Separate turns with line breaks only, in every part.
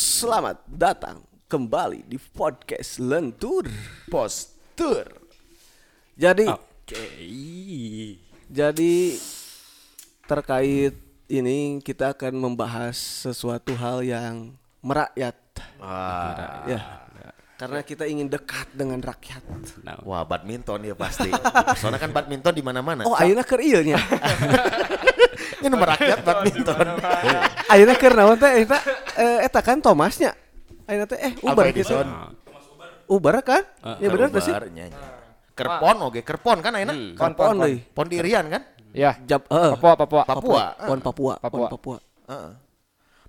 Selamat datang kembali di podcast Lentur Postur. Ah. Jadi
Oke.
jadi terkait ini kita akan membahas sesuatu hal yang merakyat. Ya. Karena kita ingin dekat dengan rakyat.
Nah,
Wah, badminton ya pasti. Soalnya kan badminton di mana-mana.
Oh, ayeuna keur ieu nya.
ini nomor rakyat badminton.
Ayeuna keur naon teh eta eh, eta kan Thomasnya. Ayeuna teh eh Uber
Albert
gitu.
Edison.
Uber kan? ya benar tuh sih.
Barnya. Kerpon oke, kerpon kan enak.
Hmm.
Pon pon
Pon.
deui.
Pon dirian kan?
Ya.
Jap, eh.
Papua, Papua.
Papua.
Pon Papua. Pon
Papua.
Papua.
Heeh.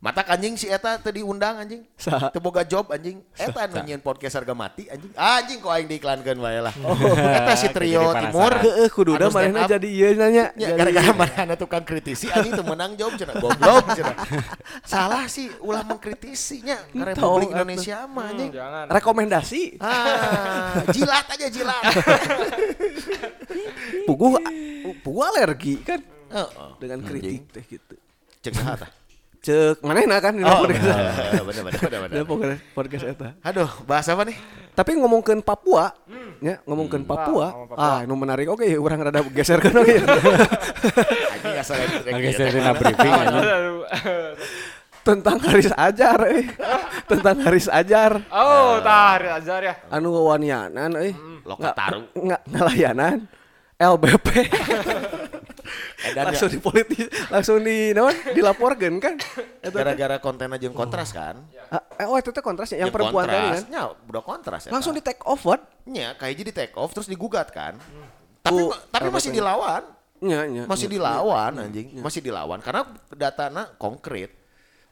Mata anjing si Eta tadi diundang anjing.
Saha?
Teu boga job anjing. Eta nu nyieun podcast harga mati anjing. Ah, anjing kok aing diiklankeun wae lah. Eta si trio
Jadi penasaran.
timur.
Oh. Heeh, kududa
anu stand
mana
up.
jadi ieu nanya. Jadi-
Ya, gara-gara mana tukang kritisi anjing teu menang jawab cenah goblok cenah. Salah sih ulah mengkritisinya ke
Entong,
Republik
atuh.
Indonesia mah
Hmm,
anjing.
Jangan.
rekomendasi
Ah, jilat aja jilat.
pugu pugu alergi kan
Heeh.
dengan kritik teh gitu
Cengah tah.
cek mana kan di
Oh,
podcast
bener bener bener
Di
bener.
podcast- podcast eta
Aduh, bahas apa nih?
tapi ngomongkeun Papua
Hmm.
ya ngomongkeun
Ah,
Papua
ngomong Papua.
ah nu menarik oke urang rada geserkeun oke
Anjing asal ya,
Geserina briefing
Iya,
anjing.
tentang Haris Ajar eh. tentang Haris Ajar
Oh, tahir ajar ya.
anu wanianan euy
Hmm. Lokataru.
nggak ngelayanan LBP
Edan ya.
langsung di politis langsung di naon dilaporkan kan Eta-
gara-gara konten aja yang kontras kan?
Ah, oh itu teh kontrasnya yang perempuan tadi kan
Ya, udah kontras eta.
langsung di take over
nya kayak jadi take off terus digugat kan. Tapi
Ku-
ma- tapi
apa Hmm.
masih
tuh?
dilawan,
Ya, ya.
masih dilawan anjing,
iya.
masih dilawan karena datanya konkret.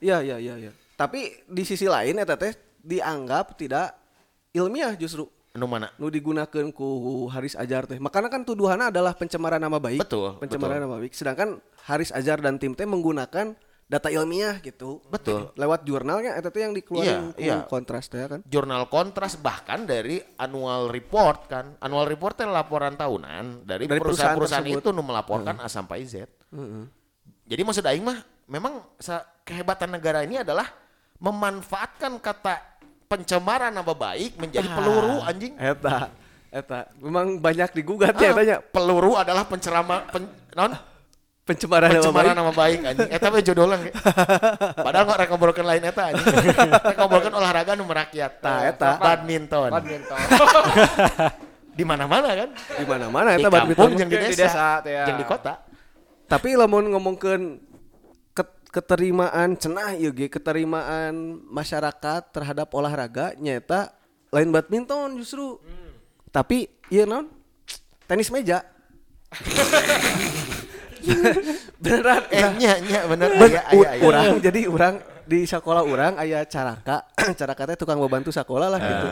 Ya, ya, ya, ya. Tapi di sisi lain eta teh dianggap tidak ilmiah justru
Nu anu mana?
nu digunakan ku Haris Ajar teh. Makanya kan tuduhannya adalah pencemaran nama baik.
Betul,
Pencemaran
betul.
nama baik. Sedangkan Haris Ajar dan tim teh menggunakan data ilmiah gitu.
Betul.
Lewat jurnalnya eta teh yang dikeluarin
Iya,
ku
iya.
kontras teh kan.
Jurnal kontras bahkan dari annual report kan. Annual report teh laporan tahunan dari
Dari perusahaan
perusahaan-perusahaan
tersebut.
itu nu melaporkan A sampai Z. Jadi maksud aing mah memang sa- kehebatan negara ini adalah memanfaatkan kata pencemaran nama baik menjadi
Ah.
peluru anjing.
Eta eta memang banyak digugat
Ah,
ya tanya
peluru adalah pencerama pen, non
pencemaran,
pencemaran
nama baik.
nama baik anjing. Eta mah jodoh lang. Padahal nggak rek ngobrolkeun lain eta anjing. Rek ngobrolkeun olahraga nu merakyat.
Tah, eta.
badminton.
Badminton.
Di mana-mana kan?
Di mana-mana
di
eta
kampung
badminton.
yang di desa,
Yang di desa, teh, ya.
yang di kota.
Tapi lamun ngomongkeun ket- keterimaan cenah ieu ge, keterimaan masyarakat terhadap olahraga nyata lain badminton justru. Tapi ieu naon? Tenis meja. Beneran.
Eh, nya, nya, bener. Iya,
Ben,
Aya,
u-
aya, aya.
urang jadi urang di sekolah urang aya caraka caraka teh tukang babantu sekolah lah gitu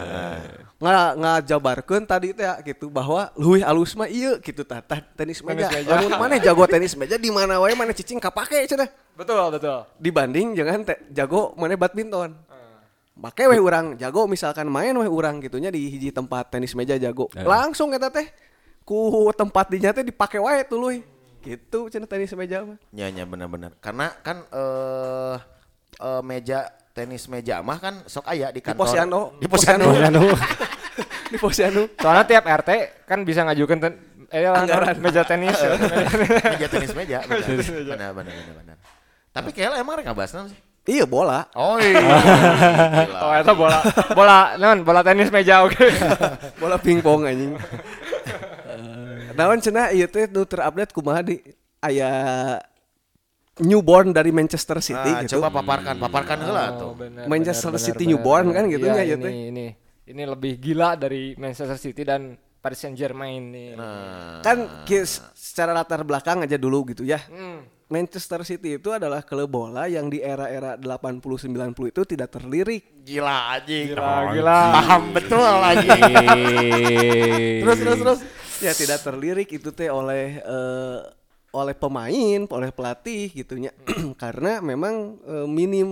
nggak ngajabarkeun tadi teh gitu bahwa luih alus mah iya gitu tata tenis meja
meja.
lamun mana jago tenis meja di mana wae mana cicing kapake cenah
betul, betul.
dibanding jangan teh jago mana badminton make weh urang jago misalkan main weh urang gitunya di hiji tempat tenis meja jago langsung eta teh ku tempat dinya teh dipake wae tuluy gitu cenah tenis meja mah
Nya, nya, bener-bener. Karena kan eh eh, meja tenis meja mah kan sok aya di
di
kantor.
Posyandu
Di Posyandu.
di Posyandu
Soalnya tiap RT kan bisa ngajukan ten eh, lah,
Anggaran.
meja tenis. ya.
meja tenis meja. Benar, benar, benar, benar. Tapi kayaknya emang rek bahas sih.
iya bola
Oh iya.
oh, itu bola bola non, bola tenis meja oke.
bola pingpong anjing Eh, naon cenah ieu teh nu terupdate kumaha di aya newborn dari Manchester City
Ah,
gitu
coba paparkan, paparkan heula tuh.
Manchester City newborn kan gitu
Iya,
nya, ya,
ini,
teh.
ini ini lebih gila dari Manchester City dan Paris Saint Germain nih.
Nah,
kan ki- secara latar belakang aja dulu gitu ya
Hmm.
Manchester City itu adalah klub bola yang di era-era 80-90 itu tidak terlirik
gila anjing.
Gila, gila.
Paham betul lagi. terus terus terus.
ya tidak terlirik itu teh oleh eh, oleh pemain, oleh pelatih gitunya. Karena memang eh, minim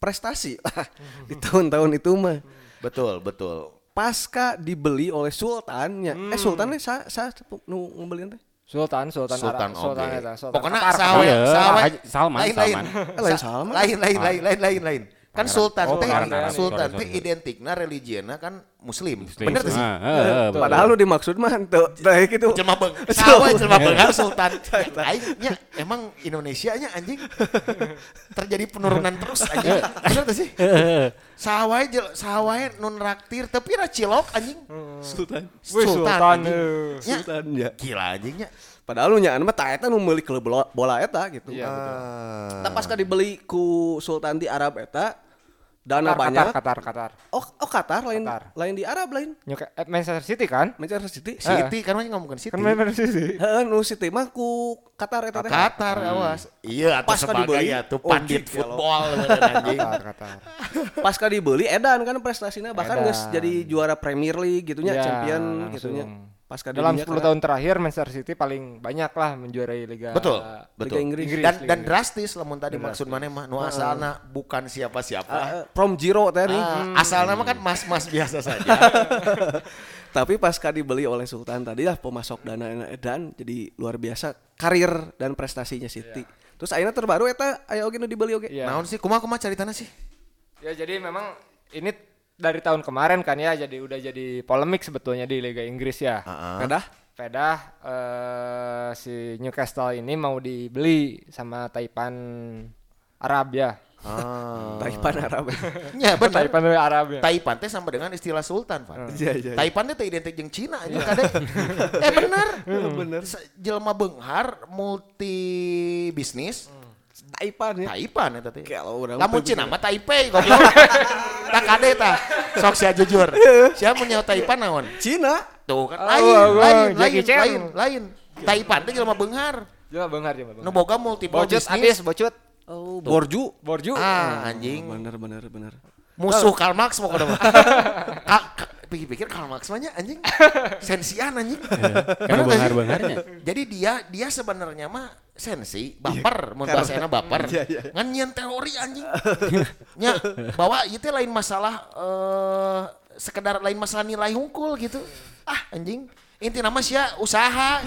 prestasi lah
Mhm.
di tahun-tahun itu mah.
Betul, betul.
Pasca dibeli oleh sultannya.
Hmm.
Eh sultannya sa sa nu ngebelian teh.
Sultan, Sultan,
Sultan
Arab, Sultan,
oge.
eta, Sultan
Pokoknya
Qatar.
sawe,
Iya,
sawe.
Haji- Salman,
lain, lain.
Salman.
Eh, lain Salman.
Lain, lain, lain, lain, lain, lain. Kan Sultan
Oh,
teh
pangeran Arab.
Sultan
Sorry,
teh
sorry.
identikna religieuna kan muslim.
Muslim.
Bener tuh sih.
Ah, ah, ah, betul.
Padahal lu dimaksud mah tuh kayak gitu.
Jelma beung. Sawa jelma beung harus sultan. Yang lainnya emang Indonesia nya anjing terjadi penurunan terus
Eh.
anjing. Bener tuh sih. Sawae jel sawae nun raktir tapi ra cilok anjing.
Sultan.
Wih, Sultan,
anjing.
eh.
Nya,
Sultan ya.
Gila anjingnya.
Padahal lu nyaan mah tak eta nu meuli klub bola, bola eta gitu.
Iya, betul.
Tapi pas dibeli ku Sultan di Arab eta dana
Qatar,
banyak.
Qatar, Qatar.
Oh, oh Qatar lain
Qatar.
lain di Arab lain.
Newca- eh, Manchester City kan?
Manchester City. Si-
Siti kan mah ngomongkan Siti.
Kan Manchester City.
Heeh, nu City mah anu, ku Qatar ya, eta teh.
Qatar awas. Iya atau
Pas kan
sebagai
dibeli,
ya tuh
oh, jik,
pandit
ya lo.
football bener, anjing.
Qatar, Qatar.
Pas ka dibeli edan kan prestasinya bahkan
Edan.
geus jadi juara Premier League gitunya,
Ya,
champion
langsung.
gitu
gitunya.
ya.
Pas ka
Dalam
dibelinya
10
kan
tahun terakhir Manchester City paling banyak lah menjuarai Liga.
Betul,
Liga
betul.
Inggris.
Inggris,
Dan
Liga
dan
Inggris.
drastis lamun tadi maksud mana mah nu asalna bukan siapa-siapa.
ah, eh, from zero teh nih.
Ah, asalnya mah kan mas-mas biasa saja.
Tapi pasca dibeli oleh Sultan tadi lah pemasok dana dan jadi luar biasa karir dan prestasinya Siti. Terus akhirnya terbaru eta aya oge nu dibeli oge.
Ya. Iya.
Naon sih kumaha kumaha ceritanya sih?
Ya jadi memang ini dari tahun kemarin kan ya jadi udah jadi polemik sebetulnya di Liga Inggris ya.
Kadah?
Pedah eh, si Newcastle ini mau dibeli sama Taipan Arab ya.
Ah. Taipan Arab.
Ya benar.
Taipan Arab ya.
Taipan teh sama dengan istilah sultan, Pak.
Iya, iya, iya.
Taipan teh teu identik jeung Cina anjing kadek. Eh benar. Benar. Jelma beunghar multi bisnis
Taipan ya.
Taipan eta teh.
Kalau orang
Lamun
multi
Cina mah Taipei goblok. Tak kade ta. Sok sia jujur. Sia mun nyaho Taipan naon?
Cina.
Tuh kan
Oh,
lain, lain,
oh,
lain,
Jackie Chan.
lain, lain. Taipan teh jelema beunghar.
Coba bengar coba bengar.
Nu boga multiple
Bocut
bisnis.
abis bocut.
Oh, Borju.
Borju.
Ah, anjing.
Bener bener bener.
musuh Karl Marx mau mah. Ka- ka- pikir-pikir Karl Marx mah nya anjing sensian anjing
Karena
nggak sih?
benghar-bengharnya.
jadi dia dia sebenarnya mah sensi baper mun bahasana baper ngan nyian teori anjing nya bahwa itu lain masalah eh sekedar lain masalah nilai hungkul gitu ah anjing inti nama sih usaha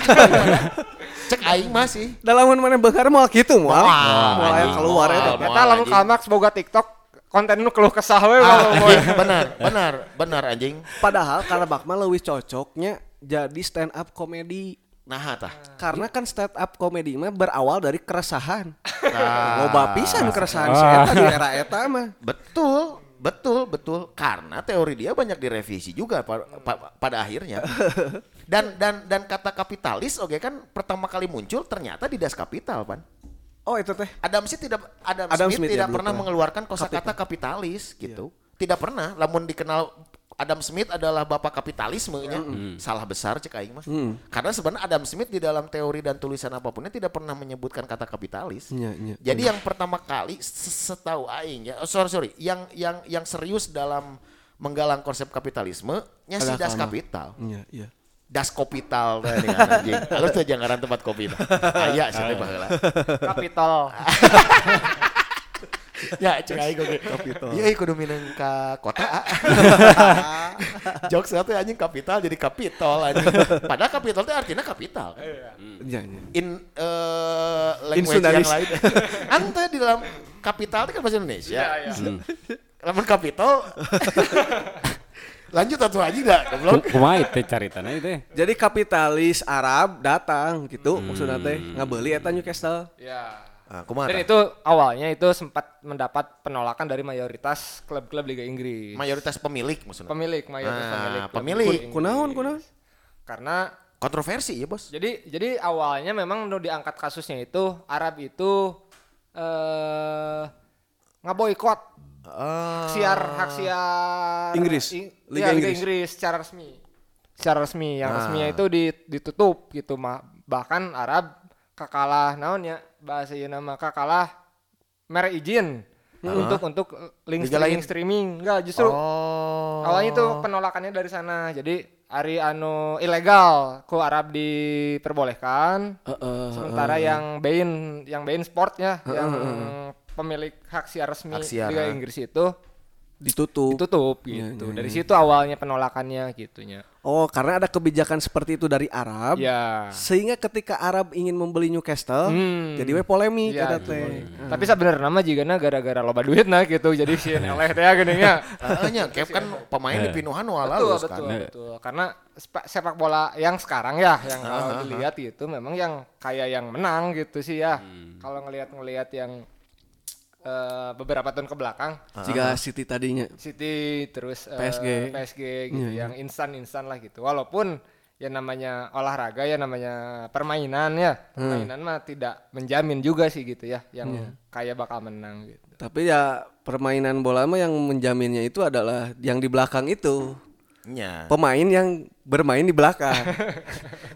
cek aing masih
Dalaman mana bakar mau gitu mau.
Moal,
Mau aya
anjing,
keluar ya,
moal.
eta.
Eh, Ternyata lamun
anjing.
Karl Marx boga TikTok konten nu keluh kesah we.
ah,
walau-
anjing, benar benar benar anjing
Padahal Karabak mah leuwih cocoknya jadi stand up komedi.
nah tah
Karena kan stand up komedi mah berawal dari keresahan.
Nah.
Loba pisan keresahan si eta di era eta mah.
Betul, betul, betul. Karena teori dia banyak direvisi juga pa- pa- pada akhirnya. Dan dan dan kata kapitalis oke kan pertama kali muncul ternyata di Das Kapital, Pan.
Oh, itu teh.
Adam Smith tidak Adam,
Adam
Smith,
Smith ya,
tidak
belum pernah.
pernah
Iya.
mengeluarkan kosakata kapitalis gitu. Tidak pernah, lamun dikenal Adam Smith adalah bapak kapitalismenya. Salah besar cek aing mah. Karena sebenarnya Adam Smith di dalam teori dan tulisan apapunnya tidak pernah menyebutkan kata kapitalis.
Iya, iya.
Jadi yang pertama kali se- setahu aing ya, oh, sorry sorry, yang yang yang serius dalam menggalang konsep kapitalisme nya si
Ada
Das
Kalma.
Kapital.
Iya, iya.
Das Kapital teh nih, anjing. Alus teh jangaran tempat kopi. teh. Aya sih teh baheula.
Kapital.
ya cek aing oge kapital iya kudu minang ka kota ah. jokes satu ya, anjing kapital jadi kapitol anjing padahal kapital itu artinya kapital
Iya, iya.
in eh, language yang
Sundanis.
lain ante di dalam kapital itu kan bahasa Indonesia Hmm. lamun kapital lanjut atau aja enggak goblok
Kumaha itu caritanya itu.
Jadi kapitalis Arab datang gitu maksudnya teh ngabeli eta Newcastle.
Ya.
ah, kumaha
Dan
tah?
itu awalnya itu sempat mendapat penolakan dari mayoritas klub-klub Liga Inggris.
mayoritas pemilik maksudnya
pemilik mayoritas
Ah,
pemilik. klub
pemilik.
Liga Inggris.
Kunaon kunaon?
Karena
kontroversi ya bos
jadi jadi awalnya memang udah diangkat kasusnya itu Arab itu eh ngaboikot hak siar hak siar
Ah. Inggris.
Ing-
Liga
ya,
Inggris. Ah.
Liga Inggris. secara resmi. Secara resmi yang resminya itu di- ditutup gitu mah. Bahkan Arab kakalah naon ya bahasa ieu nama kakalah mere izin untuk untuk link
Liga
streaming,
lain.
streaming enggak justru
oh
awalnya itu penolakannya dari sana. Jadi Ari anu ilegal ku Arab diperbolehkan. Sementara yang Bain yang Bain Sportnya yang pemilik hak siar resmi
Hak siar, ah.
Liga Inggris itu
ditutup.
ditutup
Iya,
gitu.
iya,
Dari
iya.
situ awalnya penolakannya gitunya.
Oh, karena ada kebijakan seperti itu dari Arab.
Ya.
Sehingga ketika Arab ingin membeli Newcastle,
Hmm.
jadi we polemik
Iya,
eta
jadi
teh.
Tapi sebenarnya nama jigana gara-gara loba duit nah gitu. Jadi si eleh teh ya. gedenya.
Heeh, Cap kan pemain di Pinuhan walau
betul,
kan.
betul, betul. Karena sepa- sepak bola yang sekarang ya, yang kalau dilihat itu memang yang kayak yang menang gitu sih ya. Kalau ngelihat-ngelihat yang eh, beberapa tahun ke belakang,
Jika City tadinya.
City terus eh,
PSG.
PSG gitu yang instan-instan lah gitu. Walaupun ya namanya olahraga ya namanya permainan ya. Permainan mah tidak menjamin juga sih gitu ya yang kayak bakal menang gitu.
Tapi ya permainan bola mah yang menjaminnya itu adalah yang di belakang itu.
Nya.
Pemain yang bermain di belakang.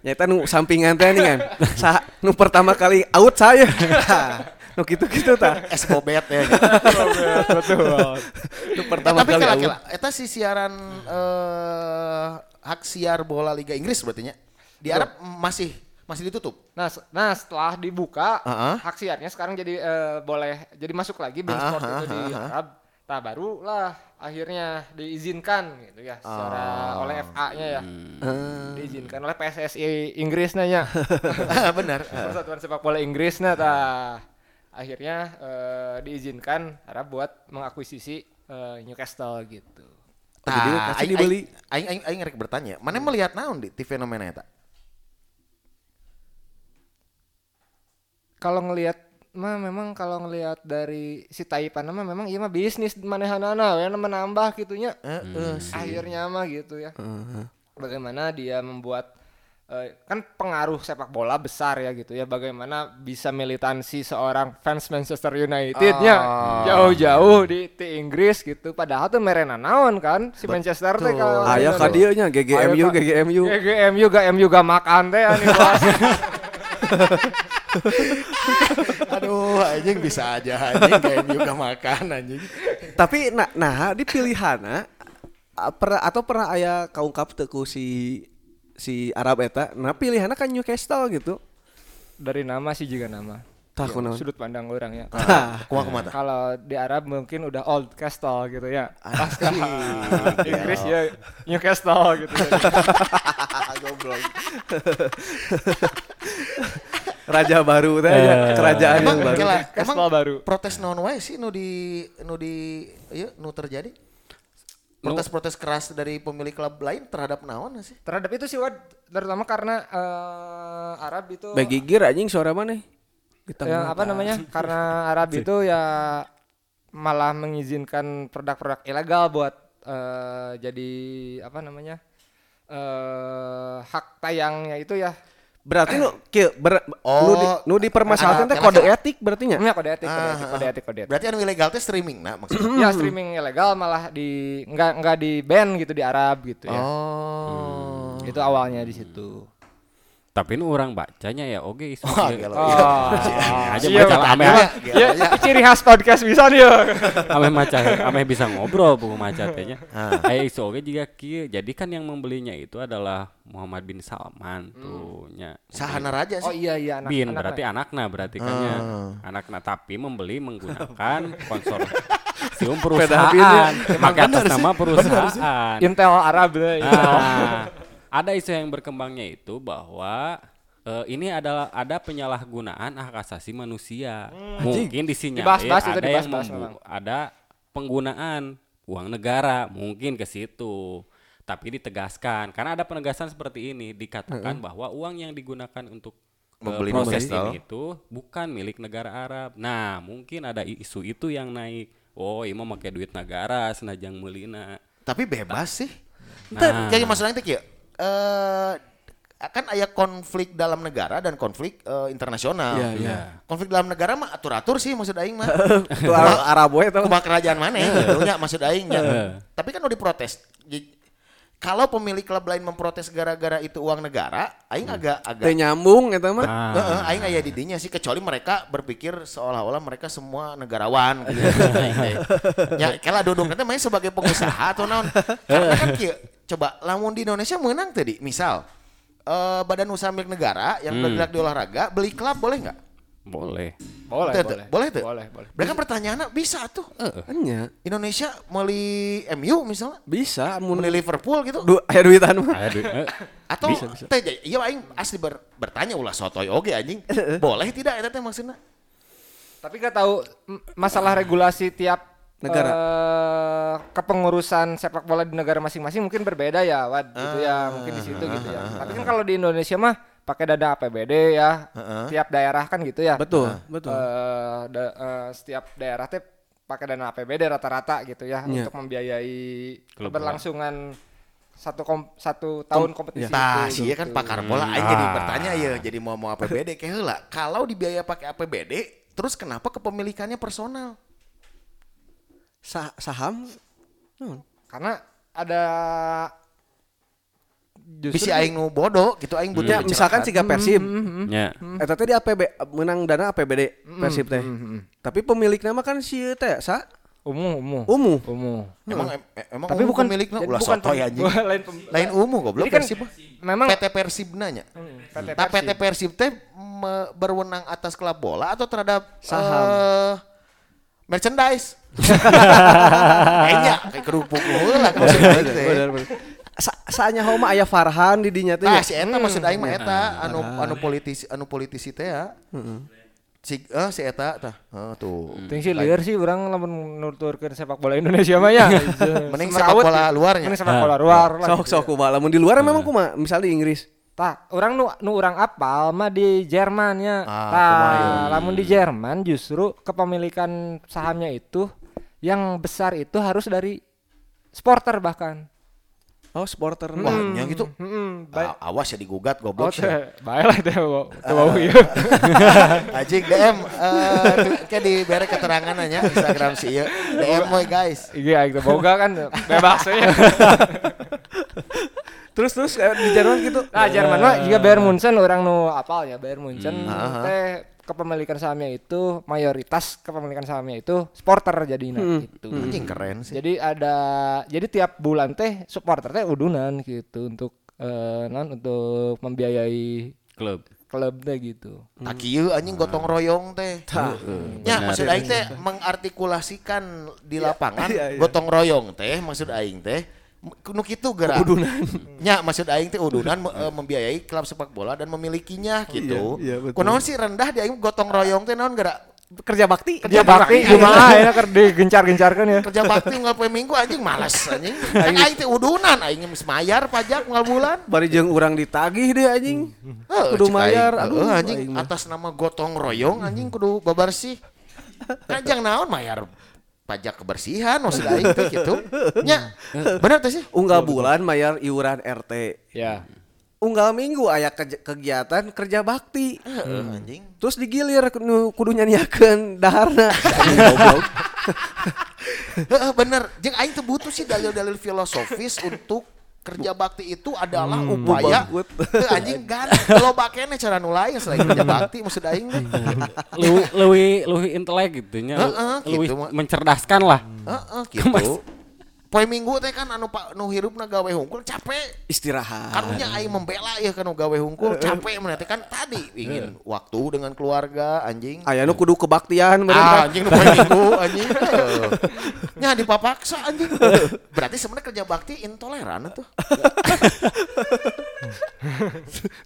Nyata nu sampingan teh nih kan. Sa, nu pertama kali out saya. Hah, nu gitu-gitu tah.
Es bobet ya.
Nu
Eh,
pertama
tapi
kali
kela
out.
kela. Eta si siaran eh, hak siar bola Liga Inggris berarti nya. Di Arab masih masih ditutup.
Nah, se- nah setelah dibuka
Ah, ah.
hak siarnya sekarang jadi eh, boleh jadi masuk lagi bean
Ah,
sport
ah,
itu di
ah, ah.
Arab. Nah, barulah akhirnya diizinkan gitu ya secara oleh FA-nya ya. Diizinkan oleh PSSI Inggris nanya.
Ah, Benar.
Ah,
Persatuan sepak bola Inggris nah tah. akhirnya eh, diizinkan Arab buat mengakuisisi eh, Newcastle gitu.
Jadi
Tah,
kasih
aing-
dibeli.
Aing aing aing rek bertanya, mana melihat naon di TV fenomena eta?
Kalau ngelihat mah memang kalau ngelihat dari si Taipan mah memang iya mah bisnis manehanana ya menambah gitunya.
Eh,
Hmm.
Heeh.
akhirnya mah gitu ya bagaimana dia membuat eh, kan pengaruh sepak bola besar ya gitu ya bagaimana bisa militansi seorang fans Manchester Unitednya jauh-jauh di, di Inggris gitu padahal tuh merena naon kan si Manchester teh kalau
Ayah ka dieu nya GGMU
Aya ka-
GGMU.
GGMU ga MU ga makan teh anu bos.
Aduh, anjing bisa aja anjing kayak juga makan anjing.
Tapi nah, nah di pilihanna a- per, atau pernah aya kaungkap teu ku si si Arab eta. Nah pilihannya kan Newcastle gitu.
dari nama sih juga nama Iya,
Tah kunaon.
sudut pandang orang ya
Ah.
Tah.
Kumaha kumaha tah?
kalau di Arab mungkin udah old castle gitu ya
Anjing.
Iya.
Inggris ya Newcastle gitu
Goblok.
Raja baru teh nya, kerajaan yang
Emang
Iya, baru.
kela, emang
Kastel baru.
protes naon wae sih nu di nu di ieu nu terjadi? Protes-protes keras dari pemilik klub lain terhadap naon sih?
terhadap itu sih Wad terutama karena eh, Arab itu
Bagi gear anjing suara mana? Kita
yang apa namanya karena Arab itu ya malah mengizinkan produk-produk ilegal buat eh, jadi apa namanya eh hak tayangnya itu ya
Berarti nu kieu ber, nu, di,
Oh.
nu dipermasalahkan teh
Ah,
kode
kela-
etik berarti nya.
namanya kode etik kode etik
Ah,
kode etik kode etik.
Berarti anu ilegal teh streaming nah maksudnya.
ya streaming ilegal malah di nggak nggak di ban gitu di Arab gitu ya
Oh.
itu awalnya di situ
Tapi nu orang bacanya ya oke. isu
Wah,
ieu.
gelo.
Ya,
Aja
Iya,
maca ameh
ya itu ciri khas podcast bisa nih ya.
Ah, ameh maca ameh bisa ngobrol buku maca tehnya. Aya isu oge juga kieu. Jadi kan yang membelinya itu adalah Muhammad bin Salman tuh nya.
Sahana raja
oh
sih.
iya iya anak,
bin
anak-
berarti anaknya berarti kan ya. Anakna tapi membeli menggunakan konsorsium perusahaan. Pakai atas nama perusahaan.
Intel Arab lah ya.
Nah, ada isu yang berkembangnya itu bahwa eh, ini adalah ada penyalahgunaan hak asasi manusia. Mungkin disinyalir
Dibahas-bahas itu,
ada yang
dibahas-bahas
membu-
memang.
ada penggunaan uang negara, mungkin ke situ. Tapi ditegaskan karena ada penegasan seperti ini dikatakan bahwa uang yang digunakan untuk eh,
Membeli
proses
Newcastle.
ini itu bukan milik negara Arab. Nah, mungkin ada isu itu yang naik. Oh, imam pakai duit negara senajang melina.
Tapi bebas sih. Nah. Entar jadi masalahnya teh kieu. Eh kan ada konflik dalam negara dan konflik eh, internasional. Nah,
Iya, iya.
Konflik dalam negara mah atur-atur sih maksud aing mah.
Itu Arab Arab we tau.
Kumaha kerajaan mana ya? nya maksud aing nya. Tapi kan udah diprotes. Jadi, Kalau pemilik klub lain memprotes gara-gara itu uang negara, aing agak agak
Teu nyambung eta mah.
Ah.
Heeh, aing aya di dinya sih kecuali mereka berpikir seolah-olah mereka semua negarawan gitu.
Iya,
Aing teh. ya kela duduk nanti main sebagai pengusaha atau naon. Karena kan kieu, coba lamun di Indonesia menang tadi misal eh,
Hmm.
badan usaha milik negara yang bergerak di olahraga beli klub boleh nggak?
Boleh.
Boleh,
Teu, teu.
boleh.
boleh tuh.
Boleh, Eh. boleh.
Berarti kan pertanyaannya bisa tuh.
Enya
Indonesia meuli MU misalnya,
bisa mun Ah.
meuli Liverpool gitu.
du aya duitan mah.
Aya duit, eh.
Atau
Bisa, bisa.
teh jadi- iya aing asli ber- bertanya ulah sotoy oge anjing. Boleh tidak eta teh maksudna?
Tapi gak tahu m- masalah regulasi tiap
Negara.
eh, kepengurusan sepak bola di negara masing-masing mungkin berbeda ya, Wad, gitu ya, mungkin di situ gitu ya. Tapi kan kalau di Indonesia mah pakai dana APBD ya, tiap daerah kan gitu ya.
Betul, betul.
Eh, da- eh, setiap daerah teh pakai dana APBD rata-rata gitu ya
Iya.
untuk membiayai
Klub bola.
berlangsungan satu kom- iya. satu tahun kompetisi
Tah,
itu. gitu.
sih kan pakar bola aing jadi bertanya ya, jadi mau mau APBD kayak heula. Kalau dibiaya pakai APBD, terus kenapa kepemilikannya personal?
Sa- saham naon?
Karena ada
Bisi
justru
aing nu bodoh gitu aing butuh
Ya,
pencerahan.
misalkan siga Persib.
Mm-hmm,
Ya.
Eta teh di APB menang dana APBD Persib teh.
Mm-hmm,
Tapi pemiliknya mah kan si teh sa
umum umum
Umu.
umum
emang em- emang
Hmm. Tapi bukan-
miliknya
jadi
ulah
bukan
sotoy
pem-
anjing.
lain pem-
Lain umum goblok
Jadi kan
Persib.
memang- Hmm,
PT Persib nanya.
PT
Nah, PT Persib teh me- berwenang atas klub bola atau terhadap
Saham.
eh, merchandise. Kayaknya kayak kerupuk heula maksudnya teh.
Sa- saanya homa aya Farhan di dinya teh.
Nah,
ya.
si eta maksud aing mah eta anu anu politisi anu politisi teh ya. Si eh si eta tah. Heeh, tuh.
Ting sih liar sih orang lamun nuturkeun sepak bola Indonesia mah ya.
Mending
Semerawut
sepak bola
ya.
luarnya.
Mending sepak bola luar lah. gitu.
Sok sok kumaha lamun di luar memang kumaha? Misal di Inggris.
Tah, orang nu nu orang apal mah di Jerman ya.
Ah,
Tah, lamun di Jerman justru kepemilikan sahamnya itu yang besar itu harus dari supporter bahkan.
Oh, supporter.
Wah, yang gitu.
Heeh.
Ah, awas ya digugat
Oh,
goblok. sih.
teh, baiklah teh bau- teh bau ieu.
Ajik DM eh, kayak di bare keterangan aja Instagram si ieu. DM moy guys.
Iya, gitu. Boga kan bebas ya.
Terus terus eh, di Jerman gitu.
Nah, Jerman mah juga Bayern Munchen orang nu apal ya Bayern Munchen teh kepemilikan sahamnya itu mayoritas kepemilikan sahamnya itu supporter jadinya gitu.
Anjing keren sih.
Jadi ada jadi tiap bulan teh supporter teh udunan gitu untuk eh non untuk membiayai
Klub.
klub teh gitu.
Hmm. Tak kieu
Ah.
anjing gotong royong teh. Ya maksud aing teh mengartikulasikan di
Iya.
lapangan gotong royong teh maksud aing teh nu kitu gerak. Udunan. Ya maksud aing teh udunan me- eh, membiayai klub sepak bola dan memilikinya gitu.
Iya, iya, betul.
Kunaon sih rendah di aing gotong royong teh naon gerak?
Kerja bakti.
Dia Ya, bakti kumaha ya keur digencar-gencarkeun ya.
gitu. Kerja bakti ngal poe minggu anjing males anjing. Kan aing teh udunan aing geus mayar pajak ngal bulan.
Bari jeung urang ditagih deh anjing. Ah,
Heeh,
Kudu
Eh, cek
mayar.
aing.
Aduh,
Heeh, anjing
anjing.
atas nama gotong royong anjing kudu babarsih. Kajang naon mayar pajak kebersihan maksud aing teh gitu. Nya, bener teh sih?
Unggal bulan mayar iuran RT.
Ya.
Unggal minggu aya kej- kegiatan kerja bakti.
Heeh, Eh,
Hmm.
anjing.
Terus digilir nu kudu nyanyiakeun daharna. Anjing, goblok.
Heeh, Eh, bener. Jeung aing teh butuh sih dalil-dalil filosofis untuk kerja bakti itu adalah
Hmm.
upaya
bubangkut.
Teu, anjing kan loba keneh cara nu lain selain kerja bakti maksud aing teh.
Hmm.
Lewi lewi lewi intelek gitu nya.
Heeh,
Lewi
gitu, Mak. Hmm.
mencerdaskan lah.
Heeh,
Kemas.
gitu. Poe minggu teh kan anu pa- nu hirupna gawe hungkul capek.
Istirahat.
karunya aing membela ya kan gawe
Eh,
hungkul capek mana teh kan tadi ingin waktu dengan keluarga anjing
Aya nu kudu kebaktian bener.
ah, anjing lu poe minggu anjing
Eh.
Heuh. nya dipapaksa anjing berarti sebenarnya kerja bakti intoleran tuh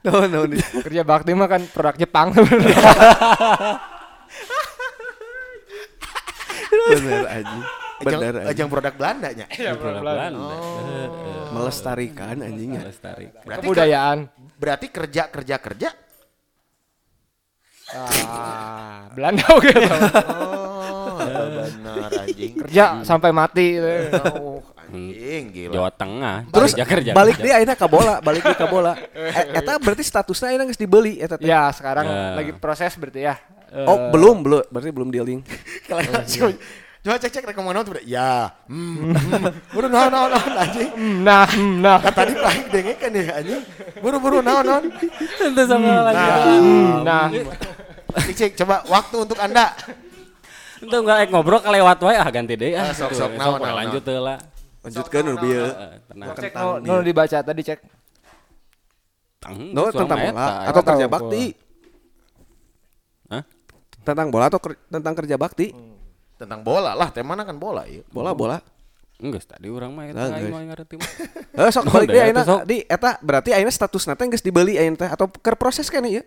Naon naon. ieu.
Kerja bakti mah kan produk Jepang.
Bener anjing. Bener
ajang,
anjing.
ajang produk Belanda nya
Produk Belanda. Heeh.
Melestarikan anjingnya.
Lestari.
berarti ke-
Kebudayaan.
berarti kerja kerja kerja
Ah, Belanda oke.
oh benar anjing
Kerja sampai mati. gitu.
oh, anjing gila
Jawa Tengah.
Terus
Kerja, kerja,
balik
kerja.
dia akhirnya ke bola, balik dia ke bola. E- Eta berarti statusnya akhirnya nggak dibeli. Eta teh.
Ya sekarang
Ya.
lagi proses berarti ya. Eh,
Oh belum belum, berarti belum dealing.
Kalau coba- coba cek cek rekomendasi tuh ya hmm hmm. udah naon naon naon anjing
hmm, Nah, hmm, nah.
Kan tadi paling dengekan ya anjing. Buru-buru naon naon.
Tentu sama lagi.
Hmm, nah.
Cik, coba waktu untuk Anda.
Tentu nggak eh, ngobrol kelewat wae ah ganti deh ah.
Ah, sok, sok,
Gitu.
naon,
Sok,
naon,
lanjut teh lah.
Lanjutkan Nurbil.
Heeh, tenang.
Cek no, no dibaca tadi cek.
Tang,
No
suara
tentang bola
eta.
atau
Atau
kerja
bola.
bakti.
Hah?
tentang bola atau ker- tentang kerja bakti?
Tentang bola lah, temana kan bola ya.
Bola bola.
Enggak, tadi orang mah eta
Nah,
aing
guys.
mah ngarti mah.
Eh sok
Oh,
balik
udah
deh
ya,
ayeuna
tuh, sok.
di eta berarti ayeuna statusna teh geus dibeli ayeuna teh atau keur proses kan ieu?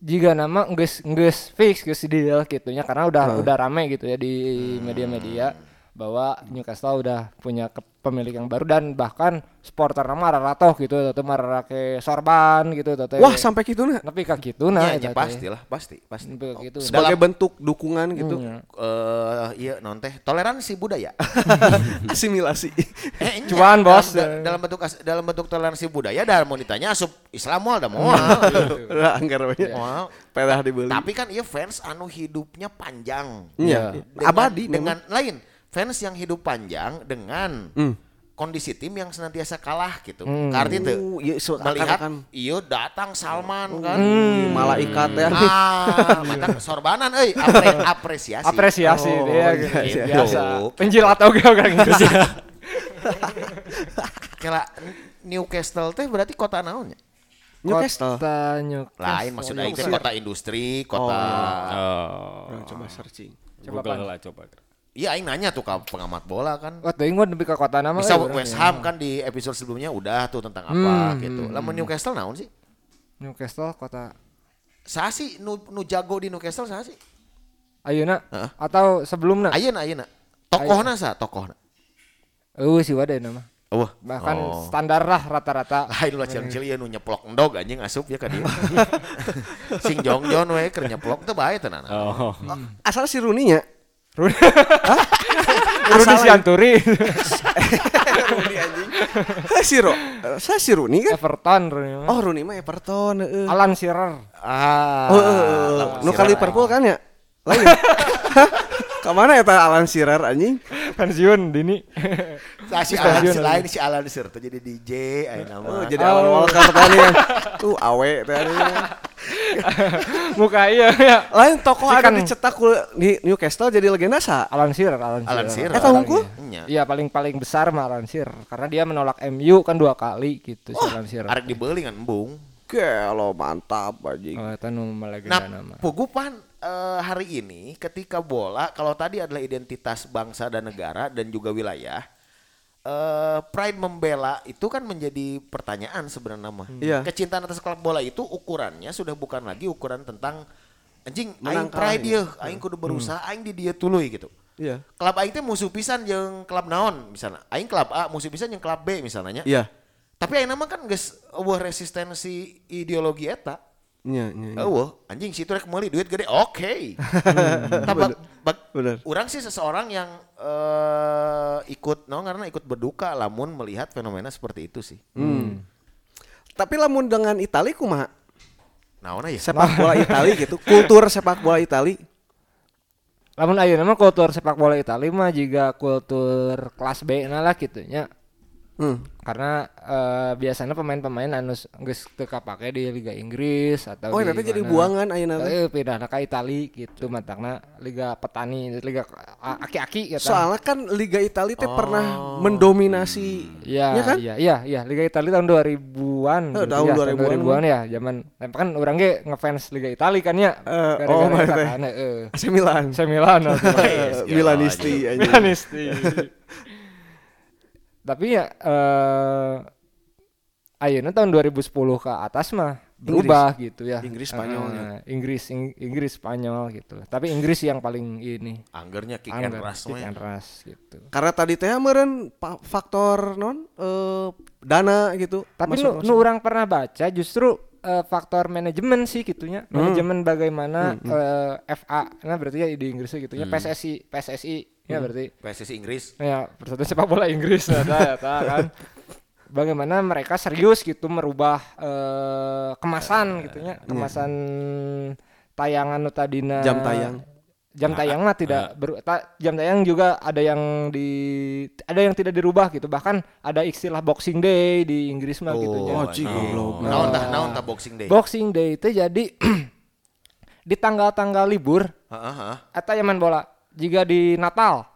jika nama nges nges fix nges deal gitunya karena udah
Hmm.
udah rame gitu ya di media-media bahwa Newcastle udah punya ke- pemilik yang baru dan bahkan supporter nama Rarato gitu atau marara ke Sorban gitu atau
Wah sampai kituna.
tapi kayak gitu nah
Iya, ya, pasti lah, pasti, pasti.
Sampai kayak gitu.
Oh, Sebagai bentuk dukungan gitu.
Eh, iya non teh toleransi budaya.
Asimilasi.
Eh, nya,
Cuan, bos.
Dalam, dalam bentuk as- dalam bentuk toleransi budaya dan mau ditanya asup Islam moal da moal.
Lah anggar we.
Moal.
Pedah dibeli.
Tapi kan iya fans anu hidupnya panjang.
Iya.
Dengan-
Abadi
dengan lain fans yang hidup panjang dengan
Hmm.
kondisi tim yang senantiasa kalah gitu. Karena itu
Oh, iya, so-
melihat
akan-
iyo datang Salman kan.
memang. malaikat ya.
Ah, mantap sorbanan euy, apre- apresiasi.
apresiasi
Oh,
dia
iya,
gitu.
iya.
biasa
Gitu.
penjil atau gak orang Inggris ya
Kela Newcastle teh berarti kota naonnya?
Newcastle.
kota Newcastle
Lain maksudnya itu
Newcastle.
kota industri, kota
Oh.
Nah, coba searching.
Coba
Google lah coba.
Iya aing nanya tuh ke pengamat bola kan.
Wah, teuing mah nepi ka kota nama
Bisa
eh, orang
West
ya.
Ham kan di episode sebelumnya udah tuh tentang apa gitu. Lamun Newcastle naon sih?
Newcastle kota
Saha sih nu, nu jago di Newcastle saha sih?
Ayeuna
Heeh.
atau sebelumna
Ayeuna ayeuna. Tokohna saha? Tokohna.
eueuh Uh, si wadah nama
Wah,
bahkan
oh.
standar lah rata-rata
Hai lu cil cil ya nu nyeplok endog anjing asup ya ka dieu. Sing jongjon we keur nyeplok teu bae teu nana.
Oh.
Asal si Rooney nya.
Rudy Sianturi
Eh, si Ro. eh, Saya si Rooney kan.
Everton Rooney mah.
Oh Rooney mah Everton. heeh.
Alan Shearer
Ah.
Oh, eh, eh, eh. nu ka Liverpool kan ya? Lain. Kamana eta Alan Shearer anjing?
pensiun dini
Nah, si Alan si lain si Alan Sir tuh jadi DJ ayeuna
Oh,
nama.
jadi Alan Walker tadi kan. Tuh awe tadi.
muka iya ya
Lain tokoh
Si
ada
kan-
dicetak ku- di Newcastle jadi legenda sa.
Alan Shearer Alan
Alan
Shearer
Sir.
Eta hungkul?
Nya.
Iya paling paling besar mah Alan Shearer karena dia menolak MU kan dua kali gitu si Alan Shearer.
Arek dibeuli ngan embung.
Gelo mantap anjing.
Oh, itu nu melegenda
Nah,
nama.
pugupan eh, hari ini ketika bola kalau tadi adalah identitas bangsa dan negara dan juga wilayah, eh pride membela itu kan menjadi pertanyaan sebenarnya mah.
Iya.
Kecintaan atas klub bola itu ukurannya sudah bukan lagi ukuran tentang anjing
Menang
aing
kalah,
pride
Hmm.
dia, aing kudu berusaha, aing di dia tuluy gitu.
Iya.
Klub aing teh musuh pisan jeung klub naon misalnya. Aing klub A musuh pisan jeung klub B misalnya.
Iya.
Tapi aing nama kan geus eueuh resistensi ideologi eta.
Iya, iya.
Oh.
iya.
Eueuh, Oh, anjing situ rek meuli duit gede. Oke. Tapi
Hmm. Bener.
Orang sih seseorang yang eh, ikut no karena ikut berduka lamun melihat fenomena seperti itu sih.
Hmm. Tapi lamun dengan Itali kumaha?
Naona ya?
Sepak bola Itali gitu. Kultur sepak bola Itali.
Lamun ayeuna mah kultur sepak bola Italia mah juga kultur kelas B na lah gitu nya.
Hmm.
Karena eh, biasanya pemain-pemain anu s- geus teu kapake di Liga Inggris atau
Oh,
di
nanti jadi
mana.
buangan ayeuna teh.
Eh pindah ke Italia gitu matangna Liga Petani, Liga a- aki-aki gitu.
Soalnya kan Liga Italia teh pernah mendominasi
Iya,
Oh. ya kan?
iya, iya, iya, Liga Italia tahun 2000-an.
Eh,
gitu
tahun
ya,
2000-an.
2000-an ya, zaman tapi kan orang ge ngefans Liga Italia kan ya.
Eh,
gara-gara
oh,
eta
maksudnya.
kan, heeh.
AC Milan.
AC Milan. oh, iya. waktu itu.
Eh, Milanisti anjing.
ya, Milanisti. Tapi ya eh ayeuna tahun 2010 ke atas mah berubah gitu ya.
Inggris, Spanyol,
Eh, Inggris Ing- Inggris Spanyol gitu. Tapi Inggris yang paling ini
Anggernya kick and
anggar,
rush, ya.
kick
we.
and rush gitu.
Karena tadi teh meureun pa- faktor non eh, dana gitu.
Tapi
Masuk-
nu, nu orang pernah baca justru eh, faktor manajemen sih gitunya. Manajemen bagaimana eh, FA nah berarti ya di Inggris gitu ya PSSI PSSI ya berarti
PSSI Inggris.
Nah.
ya persatuan sepak bola Inggris ada ya ta, kan. Bagaimana mereka serius gitu merubah eh, kemasan gitunya, kemasan tayangan nu tadina
Jam tayang.
jam tayang mah tidak beru- ta- jam tayang juga ada yang di ada yang tidak dirubah gitu bahkan ada istilah boxing day di Inggris mah gitu
Oh, cik goblok.
Naon tah naon tah boxing day.
boxing day itu jadi di tanggal-tanggal libur
Heeh, heeh.
eta yang main bola jika di Natal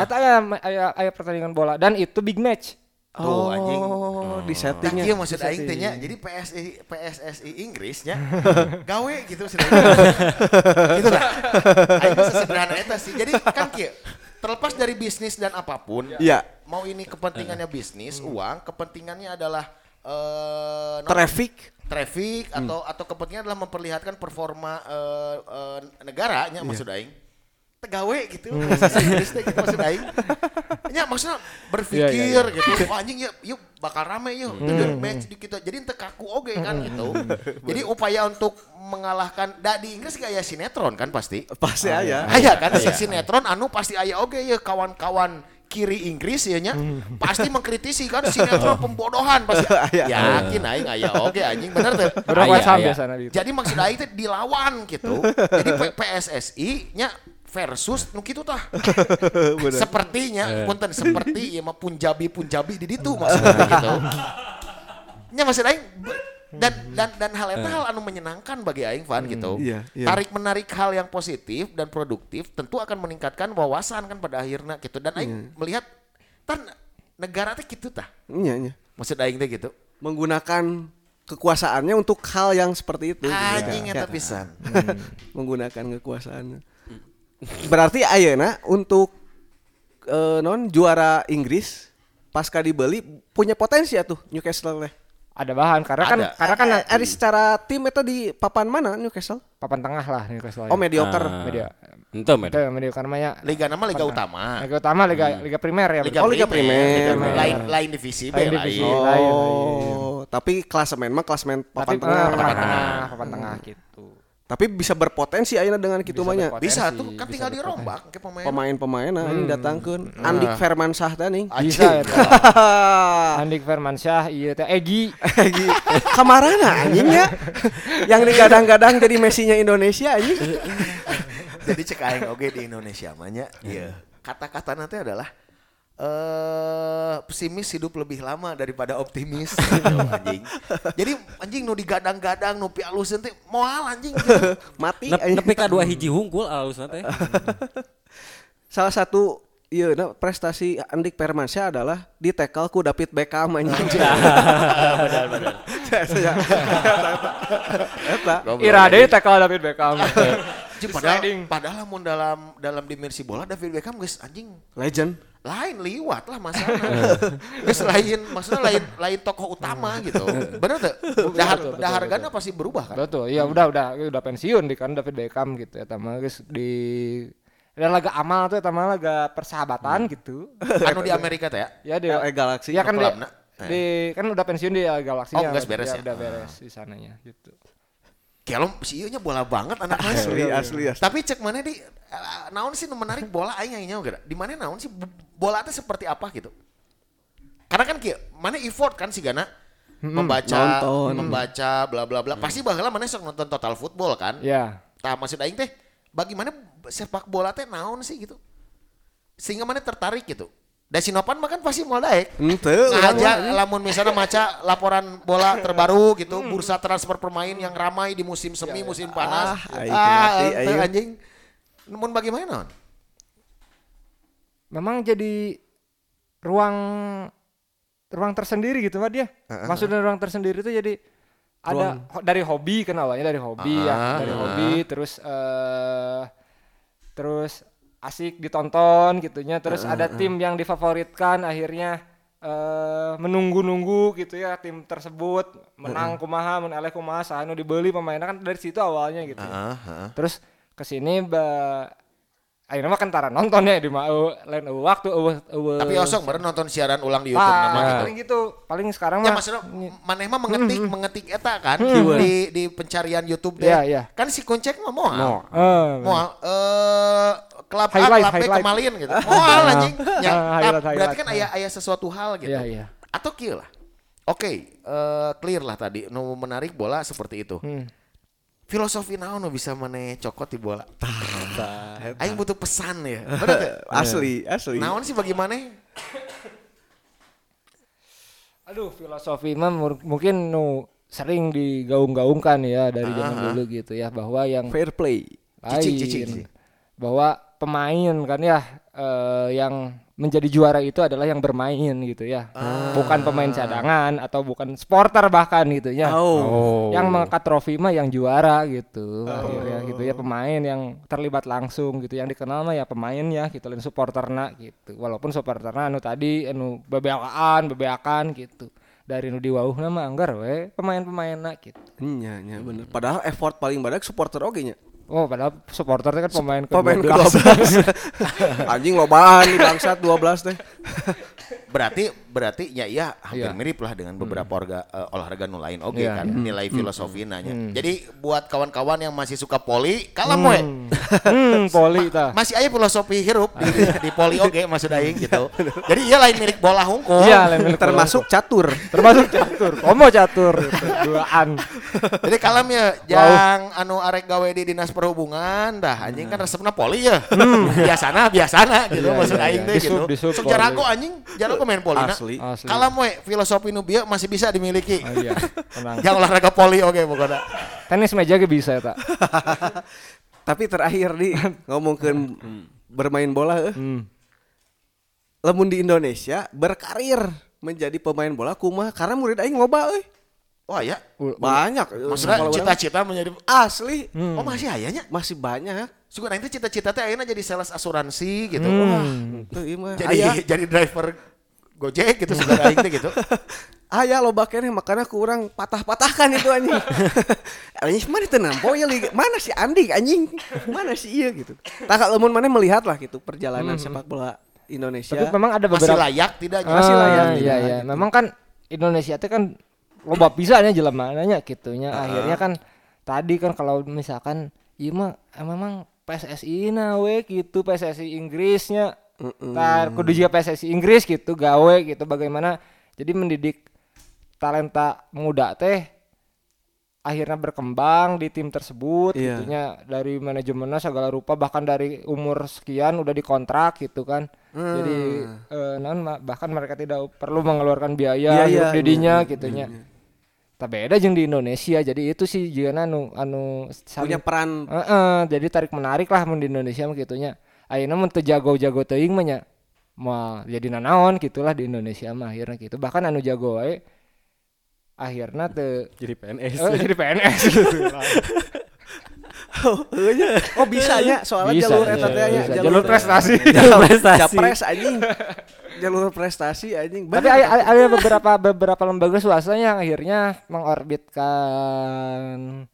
eta aya aya aya pertandingan bola dan itu big match
Tuh anjing.
Oh, di
Tah
settingnya.
iya maksud
Di
aing
setting.
teh nya. Jadi PSI PSSI Inggrisnya gawe gitu maksud aing. gitu lah. Aing mah sesederhana eta sih. Jadi kan kieu terlepas dari bisnis dan apapun,
Iya.
mau ini kepentingannya bisnis, uang, kepentingannya adalah eh non-
Traffic.
traffic atau atau kepentingannya adalah memperlihatkan performa eh, eh, negaranya maksud aing. Tegawe gitu, bahasa Inggris teh gitu maksud aing. Ya maksudnya berpikir gitu, wah anjing ya yuk bakal rame yuk, hmm. match di kita. Jadi ente kaku oge kan gitu. Jadi upaya untuk mengalahkan, da di Inggris gak ya sinetron kan pasti.
Pasti aja.
Aya kan si sinetron anu pasti aya oge ya kawan-kawan kiri Inggris ya nya pasti mengkritisi kan sinetron pembodohan pasti yakin aing aya oge anjing bener tuh
Orang
Aya,
WhatsApp
aya.
biasanya gitu.
jadi maksud aing teh dilawan gitu jadi P- PSSI nya versus nu kitu tah
Eh.
sepertinya punten seperti ieu mah punjabi-punjabi di ditu
Hmm.
maksudnya gitu
Iya,
nya maksud aing be-
Hmm.
dan dan dan hal itu hal anu menyenangkan bagi aing Van gitu.
Eh. Iya, iya.
Tarik menarik hal yang positif dan produktif tentu akan meningkatkan wawasan kan pada akhirnya gitu. Dan aing melihat tan negara teh gitu tah.
Iya, iya.
Maksud aing teh gitu.
Menggunakan kekuasaannya untuk hal yang seperti itu.
Anjing
Ya,
eta pisan.
Menggunakan kekuasaannya. Berarti ayeuna untuk eh, non juara Inggris pasca dibeli punya potensi ya tuh Newcastle teh.
Ada bahan karena kan
Ada.
karena kan
Karena ada secara tim itu di papan mana Newcastle?
papan tengah lah Newcastle.
Oh, mediocre.
Ah.
media.
Ente
Itu
media.
media karena ya.
Liga nama liga
Eh.
utama.
Liga utama, liga liga primer ya.
Liga,
Oh, Liga Primer.
Liga Lain lain divisi ya? be lain.
Lain divisi.
Oh,
Lain,
tapi klasemen mah klasemen papan
iya, Tapi
tengah.
papan tengah, papan tengah gitu.
Tapi bisa berpotensi ayeuna dengan gitu mah nya.
berpotensi. Hmm.
Bisa
Potensi,
tuh kan
bisa
tinggal dirombak ke pemain.
Pemain-pemain nah ini datangkeun
Nah.
Andik Firmansyah tadi.
Bisa
Anjing.
itu. Andik Firmansyah, iya teh Egi.
Egi. Kamarana anjingnya yang digadang-gadang jadi Messinya Indonesia anjing.
Jadi cek aing oge di Indonesia mahnya. Iya. Kata-kata nanti adalah eh pesimis hidup lebih lama daripada optimis gitu, anjing. Jadi anjing nu digadang-gadang nu pialus teh moal anjing. gitu.
Mati
Nep,
anjing.
nepi ka dua hiji hungkul ya. alusna teh.
Salah satu Iya, nah, prestasi Andik Permansyah adalah di tackle ku David Beckham anjing. Benar-benar. Eta.
Irade tackle David Beckham.
Cik, padahal
Sliding.
padahal lamun dalam dalam dimensi bola David Beckham guys anjing
Legend.
lain liwat lah masalah. Guys lain maksudnya lain lain tokoh utama gitu. Bener tuh. Dahar, dahargana pasti berubah kan.
Betul, iya udah udah udah pensiun di kan David Beckham gitu ya tama guys di dan laga amal tuh tama laga persahabatan gitu.
Anu di Amerika teh ya.
Ya di
LA Galaxy,
Ya kan di,
klubna.
di- kan udah pensiun di LA Galaxy.
nah. Oh, nggak beres ya?
kan? Udah beres di sananya gitu.
Kelom si ieu nya bola banget anak
Iya,
Asli, asli, asli.
Tapi cek mana di eh, naon sih nu menarik bola aing aing nyawa gara. Di mana naon sih b- bola teh seperti apa gitu. Karena kan kieu mana effort kan si Gana membaca
Hmm, nonton.
membaca bla bla bla. Pasti baheula mana sok nonton total
Iya,
football kan.
Ya.
Tah maksud aing teh bagaimana sepak bola teh naon sih gitu. Sehingga mana tertarik gitu. Da Sinopan mah kan pasti mau daek.
Ente.
Ngajak lamun misalnya maca laporan bola terbaru gitu, bursa transfer pemain yang ramai di musim semi, musim panas.
Ah, aing ngerti,
ente,
aing.
anjing. Namun bagaimana?
Memang jadi ruang ruang tersendiri gitu mah dia. Maksudnya ruang tersendiri itu jadi ada ho- dari hobi kan awalnya dari hobi ya,
Ah,
dari
ah.
hobi terus eh terus asik ditonton gitunya, terus ada tim yang difavoritkan akhirnya eh menunggu-nunggu gitu ya tim tersebut menang kumaha, mun eleh kumaha, sahanu dibeli pemainnya kan dari situ awalnya gitu.
Heeh, heeh.
Terus ke sini ba ayeuna mah kan tara nonton ya di mah eueuh, lain eueuh waktu eueuh eueuh.
Tapi osong baru nonton siaran ulang di YouTube nama
Wah,
gitu.
paling gitu. Paling sekarang
Ya
mah
maksudnya maneh mah mengetik mengetik eta kan di di pencarian YouTube deh.
Iya, iya.
Kan si Kuncek mah moal.
Eh,
Moal eh kelab A
Highlight,
kelab B
highlight.
kemalin gitu. Moal anjing. Ya,
Ah,
tap,
highlight,
berarti
highlight.
kan aya aya sesuatu hal gitu.
Iya, iya.
Atau kieu lah. Oke, eh, clear lah tadi nu menarik bola seperti itu.
Hmm.
Filosofi naon nu bisa maneh cokot di bola? Aing butuh pesan ya. Bener teu?
Asli,
Iya.
Iya.
asli.
Naon sih bagaimana?
aduh filosofi mah mur- mungkin nu sering digaung-gaungkan ya dari zaman dulu gitu ya bahwa yang
Fair play.
lain
Cicing, cicing, cicing.
bahwa pemain kan ya eh, yang menjadi juara itu adalah yang bermain gitu ya.
Ah.
Bukan pemain cadangan atau bukan sporter bahkan gitu ya.
Oh.
Oh.
Yang mengangkat trofi mah yang juara gitu. Akhirnya gitu ya pemain yang terlibat langsung gitu yang dikenal mah ya pemainnya gitu lain supporterna gitu. Walaupun supporterna anu tadi anu bebeakan, bebeakan gitu. Dari nu diwauhna mah anggar we pemain-pemainna gitu.
Nya, nya bener. Padahal effort paling badak supporter oge nya.
Oh, padahal supporter teh kan pemain kedua
Pemain
belas.
ke-12. Anjing lobaan di bangsat 12 teh.
berarti berarti ya ya hampir
Iya.
mirip lah dengan beberapa orga, eh, olahraga nu lain oke
Iya.
kan nilai filosofi nanya jadi buat kawan-kawan yang masih suka poli kalah moe
Hmm, poli tah. Ah, iya.
masih aja filosofi hirup di, di poli oke maksud aing gitu jadi iya lain mirip bola hungkul
Iya, lain milik bola.
Oh. Termasuk catur.
termasuk catur komo catur gitu. duaan
jadi kalem ya yang anu arek gawe di dinas perhubungan dah anjing kan resepna poli ya biasana biasana gitu
Hmm. Iya,
maksud
iya,
aing
iya.
teh
Di sub-
gitu
di sub
sok
poli.
jarago anjing jarago main poli na
Asli.
asli
kalah moe filosofi nu bieu masih bisa dimiliki
Oh, iya tenang
yang olahraga poli oke pokoknya
tenis meja ge bisa ya, tak
Tapi terakhir di ngomongkeun bermain bola eh.
hmm.
Lamun di Indonesia berkarir menjadi pemain bola kumaha karena murid aing loba euy.
oh ya
U-
Banyak. eh,
Maksudnya
kalau orang-
cita-cita menjadi
asli
Hmm.
Oh masih ayahnya?
masih banyak.
Suka nanti cita-cita teh akhirnya jadi sales asuransi gitu.
Hmm.
Wah,
Tuh ieu mah
jadi
aya.
jadi driver Gojek gitu suka aing teh gitu.
Aya loba keneh ya, makanya kurang patah-patahkan itu anjing. anjing mana teu nampo ya liga- mana si Andi anjing? Mana si iya gitu. Tak lamun mana melihat lah gitu perjalanan
Hmm.
sepak bola Indonesia.
tapi memang ada
Masih
beberapa
layak tidak?
Masih
ya.
Ah,
layak,
iya
tidak
iya
gitu.
memang kan Indonesia itu kan loba pisannya jelema nanya gitunya akhirnya kan tadi kan kalau misalkan iya mah eh, memang PSSI na we gitu PSSI Inggrisnya tar kudu juga PSSI Inggris gitu gawe gitu bagaimana jadi mendidik talenta muda teh akhirnya berkembang di tim tersebut
Iya.
gitunya dari manajemennya segala rupa bahkan dari umur sekian udah dikontrak gitu kan
Hmm.
jadi eh, naon ma- bahkan mereka tidak perlu mengeluarkan biaya
Biaya,
hidup
iya,
didinya gitunya tapi beda jeung di Indonesia jadi itu sih jeung anu anu
punya
saling-
peran
Heeh, jadi tarik menarik lah mun di Indonesia mah gitunya ayeuna mun teu jago-jago teuing mah nya mah jadi nanaon gitulah di Indonesia mah akhirnya gitu bahkan anu jago wae akhirnya teu
Jadi PNS.
Eh, jadi PNS gitu.
Oh, iya. oh bisa nya soalnya
Bisa,
jalur
iya,
eta teh nya
bisa. Jalur prestasi.
Jalur
prestasi.
Capres anjing. Jalur prestasi anjing.
Tapi
Bener,
ada, ada- ada beberapa beberapa lembaga swasta yang akhirnya mengorbitkan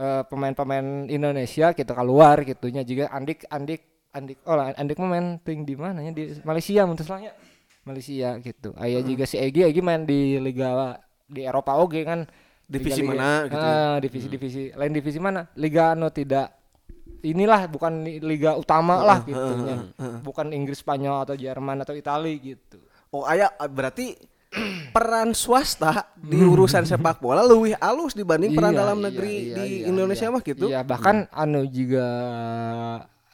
eh, pemain-pemain Indonesia gitu keluar gitunya juga Andik Andik Andik oh lah, Andik mah main ting di mana ya di Malaysia menurut selangnya Malaysia gitu. Aya
Hmm.
juga si Egi Egi main di liga di Eropa oge kan
Divisi
Liga-liga-
mana gitu ya.
Ah, divisi-divisi lain divisi mana? Liga anu tidak inilah bukan li- liga utama
Ah,
lah gitu Bukan Inggris, Spanyol atau Jerman atau Italia gitu.
Oh ayah berarti peran swasta di urusan
Hmm.
sepak bola lebih halus dibanding peran
Iya,
dalam
iya,
negeri
iya,
di
iya,
Indonesia
iya.
mah gitu.
Iya, bahkan anu juga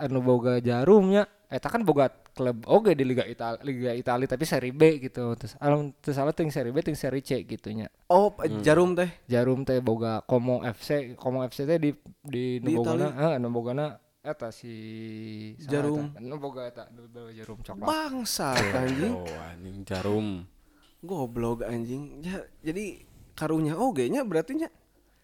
anu boga jarumnya eta kan boga klub oge di Liga Italia Liga Italia tapi seri B gitu. Terus anu terus salah ting seri B ting seri C gitunya.
Oh jarum teh.
Jarum teh boga Como FC, Como FC teh di di
Di
nu bogana, heeh nu bogana eta si saha
Jarum.
eta. Nu boga eta nu boga jarum coklat.
Bangsa anjing.
Oh, anjing jarum.
Goblok anjing. Ya, jadi karunya oge nya berarti nya.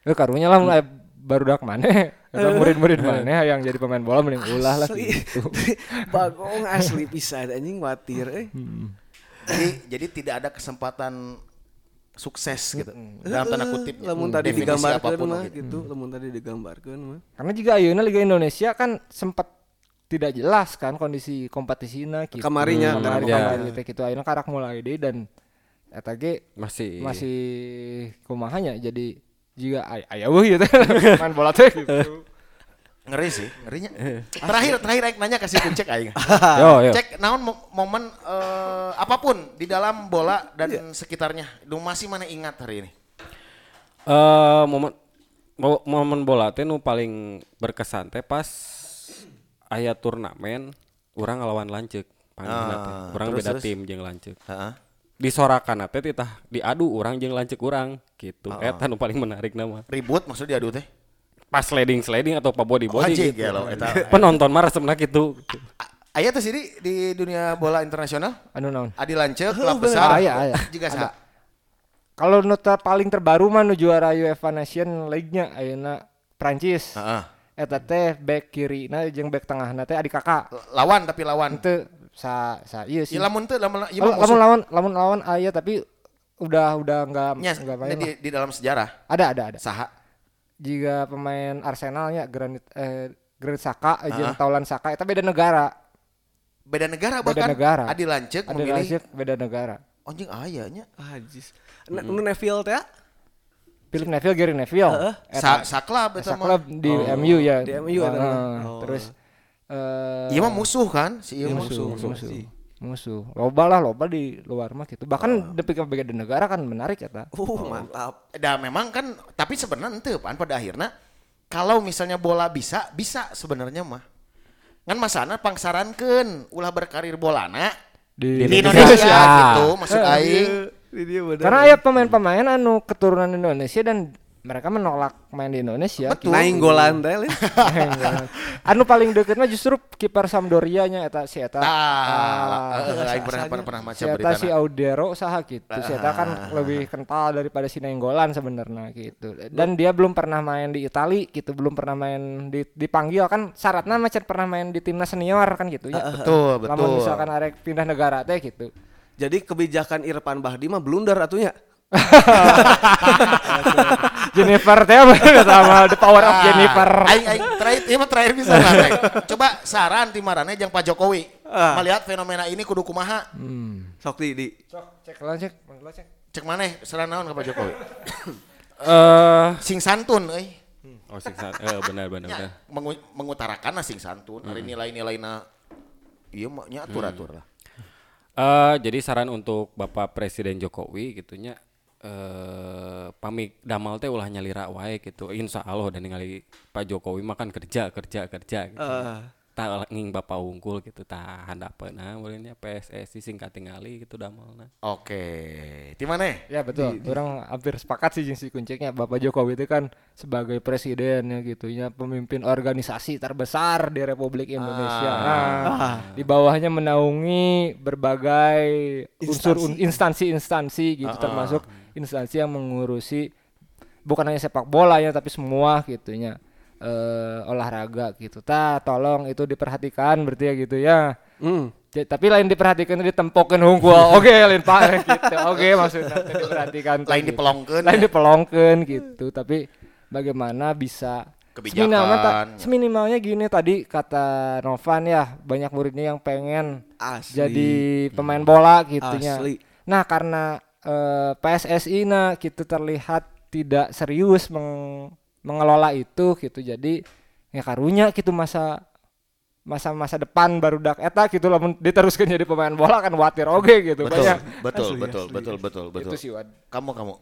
Eh karunya lah mulai barudak maneh. Eta murid-murid maneh yang jadi pemain bola mending ulah lah
Asli.
gitu.
Bagong asli pisan anjing watir eh.
jadi jadi tidak ada kesempatan sukses gitu dalam tanda kutip.
Eh, Lamun tadi
Definisi
digambarkeun
apapun,
mah
gitu.
gitu, lamun tadi digambarkeun mah.
Karena juga ayeuna Liga Indonesia kan sempat tidak jelas kan kondisi kompetisinya gitu.
Kamarinya,
Kamari,
iya.
kamari teh gitu ayeuna karak mulai deh dan eta ge
Masih.
masih kumahanya jadi juga ay aya weh gitu main bola teh gitu.
Ngeri sih, ngerinya. Terakhir terakhir aing nanya kasih kucek aing.
yo
Oh, iya.
yo.
Cek naon mo- momen eh, apapun di dalam bola dan sekitarnya. Lu masih mana ingat hari ini?
Eh momen mo- momen bola teh nu paling berkesan teh pas aya turnamen urang ngelawan Lanceuk panggilna teh.
Ah,
Urang
terus,
beda
terus.
tim jeung Lanceuk.
Heeh.
Disorakan teh titah diadu urang jeung Lanceuk urang gitu.
Ah.
Eta nu paling menarik nama.
Ribut maksudnya diadu teh.
Pas sliding sliding atau pa body
Oh,
body
anjing,
gitu.
gelo, eta.
Penonton mah resepna gitu.
A- Aya teh sendiri di dunia bola internasional
Anu naon?
Adi Lancet,
Heuh,
klub
bener.
besar,
Aya, aya.
juga sah.
Kalau nu ter- paling terbaru mah nu juara UEFA Nation League-nya ayeuna Prancis.
Heeh.
Eta teh back kiri na jeung back tengahna teh adik kakak.
Lawan tapi lawan.
Henteu sa sa ieu sih.
Iya lamun teu lamun ieu mah
Lamun lamun
musuh.
lawan lamun lawan aya tapi udah udah enggak
Nya,
enggak main.
di,
lah. Iya.
di dalam sejarah
Ada ada ada.
saha
Jika pemain Arsenalnya Granit eh, Granit Saka
Ah.
jeung Taulan Saka eta beda negara.
beda negara
Beda
Iya, bahkan
negara.
Adi Lancet
Ada
memilih
Lazio beda negara.
anjing aya nya.
Ajis. Nah, nu Neville teh
Philip Neville, Gary Neville. Eta-
Sa saklab eta
Esa Eh, klub
mah.
di MU ya.
di MU ada.
Heeh,
Oh.
Terus eh
Ieu mah musuh kan si ieu
Iya,
mah.
Iya musuh, musuh, musuh. Musuh. Loba lah, loba di luar mah gitu.
Oh.
Bahkan tapi ke beda negara kan menarik ya ta.
Uh, mantap.
Dah memang kan tapi sebenarnya ente pan pada akhirnya kalau misalnya bola bisa bisa sebenarnya mah. Kan masana pangsarankeun ulah berkarir bolana
Di, Iya.
di Indonesia gitu maksud aing.
Iya, Ini dia bener.
Karena ya pemain-pemain anu keturunan Indonesia dan mereka menolak main di Indonesia. gitu.
Betul.
Naing golan teh. Lin.
anu paling deket mah justru kiper Sampdoria nya eta si
Tah,
eta. Ah,
Ah, eh, aing pernah pernah pernah maca
si eta
berita.
si Audero saha gitu. Si eta kan
Ah.
lebih kental daripada si Nenggolan sebenarnya gitu. Dan dia belum pernah main di Itali gitu, belum pernah main di dipanggil kan syaratnya macam pernah main di timnas senior kan gitu ya.
Betul,
Lamun
Ah, betul.
misalkan arek pindah negara teh gitu.
Jadi kebijakan Irfan Bahdi mah blunder atunya.
Jennifer teh apa sama The Power of
Ah,
Jennifer.
Aing aing terakhir ieu mah terakhir bisa lah, Rek. Coba saran ti marane jeung Pak Jokowi.
Ah.
Melihat fenomena ini kudu kumaha?
Sok di, di.
Cok, cek lawan cek, lawan cek.
Cek maneh saran naon ke Pak Jokowi?
Eh,
Sing santun euy.
oh siksa. Eh, benar benar benar.
Ya, mengu- mengutarakan nah sing santun, hari
Hmm.
nilai-nilai na ieu mah nya atur-atur lah.
Eh, jadi saran untuk Bapak Presiden Jokowi gitunya eh pamik damal teh ulah nyalira wae gitu. Insya Allah dan ningali Pak Jokowi makan kerja kerja kerja gitu.
Eh. Ah.
tak nging bapak unggul gitu tak handapeuna mulanya PSSI singkat tingali gitu damalna.
Oke, ti maneh?
Ya betul. Orang hampir sepakat sih jeung si kunceknya Bapak Jokowi itu kan sebagai presiden ya gitunya pemimpin organisasi terbesar di Republik Indonesia. Nah, di bawahnya menaungi berbagai unsur un- instansi-instansi gitu termasuk instansi yang mengurusi bukan hanya sepak bola ya tapi semua gitunya eh olahraga gitu. Ta tolong itu diperhatikan berarti ya gitu ya.
Hmm.
Ja- tapi lain diperhatikan ditempokin hungkul. Oke, lain pak gitu. Oke, maksudnya teh diperhatikan. teh
Lain
gitu.
dipelongkeun.
ya?
Lain dipelongkeun
Hmm.
gitu. Tapi bagaimana bisa
Kebijakan.
Seminimalnya, ta- seminimalnya gini tadi kata Novan ya, banyak muridnya yang pengen
Asli.
jadi pemain bola gitunya.
Asli.
Nah, karena eh, PSSI nah gitu terlihat tidak serius meng- mengelola itu gitu. Jadi ya karunya gitu masa masa-masa depan baru dak eta gitu lamun diteruskan jadi pemain bola kan khawatir oke gitu
Betul,
banyak
betul, betul, betul, betul, betul.
itu sih Wan.
Kamu kamu.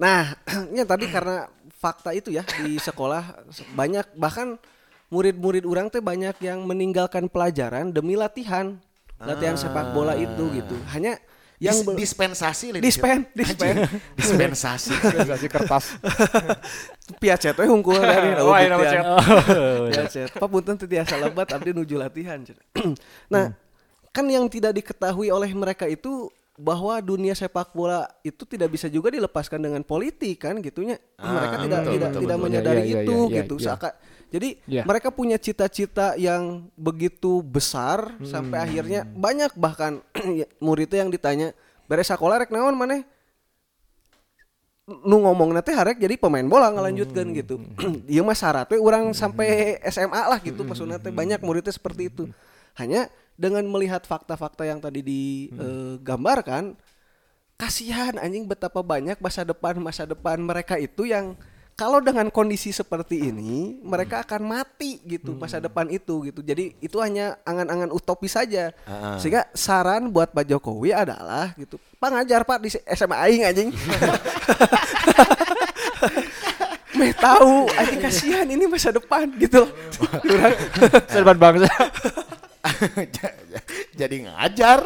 Nah, ya tadi karena fakta itu ya di sekolah banyak bahkan murid-murid orang teh banyak yang meninggalkan pelajaran demi latihan, latihan sepak bola itu gitu. Hanya yang
Dis-
be-
dispensasi Lin.
Dispen, dispen.
dispensasi.
Organisasi kertas
Piacet we hungkul dari
Wah, iya, nama iya. Cet.
Piacet. Papunten teu tiasa lebat abdi nuju latihan. Cet.
Hmm.
nah, kan yang tidak diketahui oleh mereka itu bahwa dunia sepak bola itu tidak bisa juga dilepaskan dengan politik kan gitunya.
Ah,
mereka tidak
betul,
tidak
betul,
tidak
betul.
menyadari
Iya, iya,
itu
iya, iya,
gitu.
iya.
Seaka- jadi
Iya.
mereka punya cita-cita yang begitu besar sampai
Hmm.
akhirnya banyak bahkan ya, muridnya yang ditanya, "Beres sekolah rek naon maneh?" nu ngomong nanti harek jadi pemain bola ngelanjutkan
Hmm.
gitu iya mah syaratnya orang sampai SMA lah gitu
Hmm.
maksudnya teh banyak muridnya seperti itu hanya dengan melihat fakta-fakta yang tadi eh,
Hmm.
digambarkan kasihan anjing betapa banyak masa depan masa depan mereka itu yang kalau dengan kondisi seperti ini mereka akan mati gitu masa depan itu gitu jadi itu hanya angan-angan utopis saja sehingga saran buat Pak Jokowi adalah gitu pengajar Pak di SMA aing anjing meh tahu anjing kasihan ini masa depan gitu Orang-
serban bangsa
Jadi ngajar.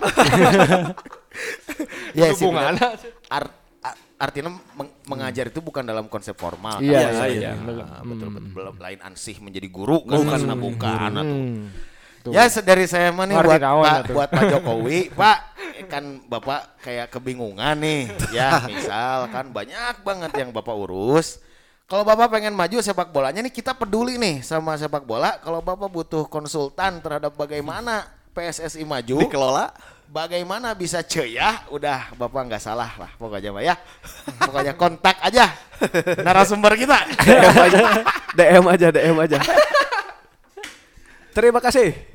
ya sih. benar.
Hubunganna.
Ar- ar- artinya meng- mengajar itu bukan dalam konsep formal.
Iya,
kan?
iya, Hmm. iya. Iya,
Ah, Betul, betul. Belum lain ansih menjadi guru kan. Bukan, bukan. atuh.
gitu.
Ya se- dari saya mah nih
Ngerti
buat
naon
Pak,
atuh.
buat Pak Jokowi, Pak kan Bapak kayak kebingungan nih. Ya, misal kan banyak banget yang Bapak urus. Kalau Bapak pengen maju sepak bolanya nih kita peduli nih sama sepak bola. Kalau Bapak butuh konsultan terhadap bagaimana PSSI maju,
dikelola
bagaimana bisa ceyah, udah Bapak nggak salah lah pokoknya Pak ya. Pokoknya kontak aja narasumber kita.
DM aja DM aja DM aja terima kasih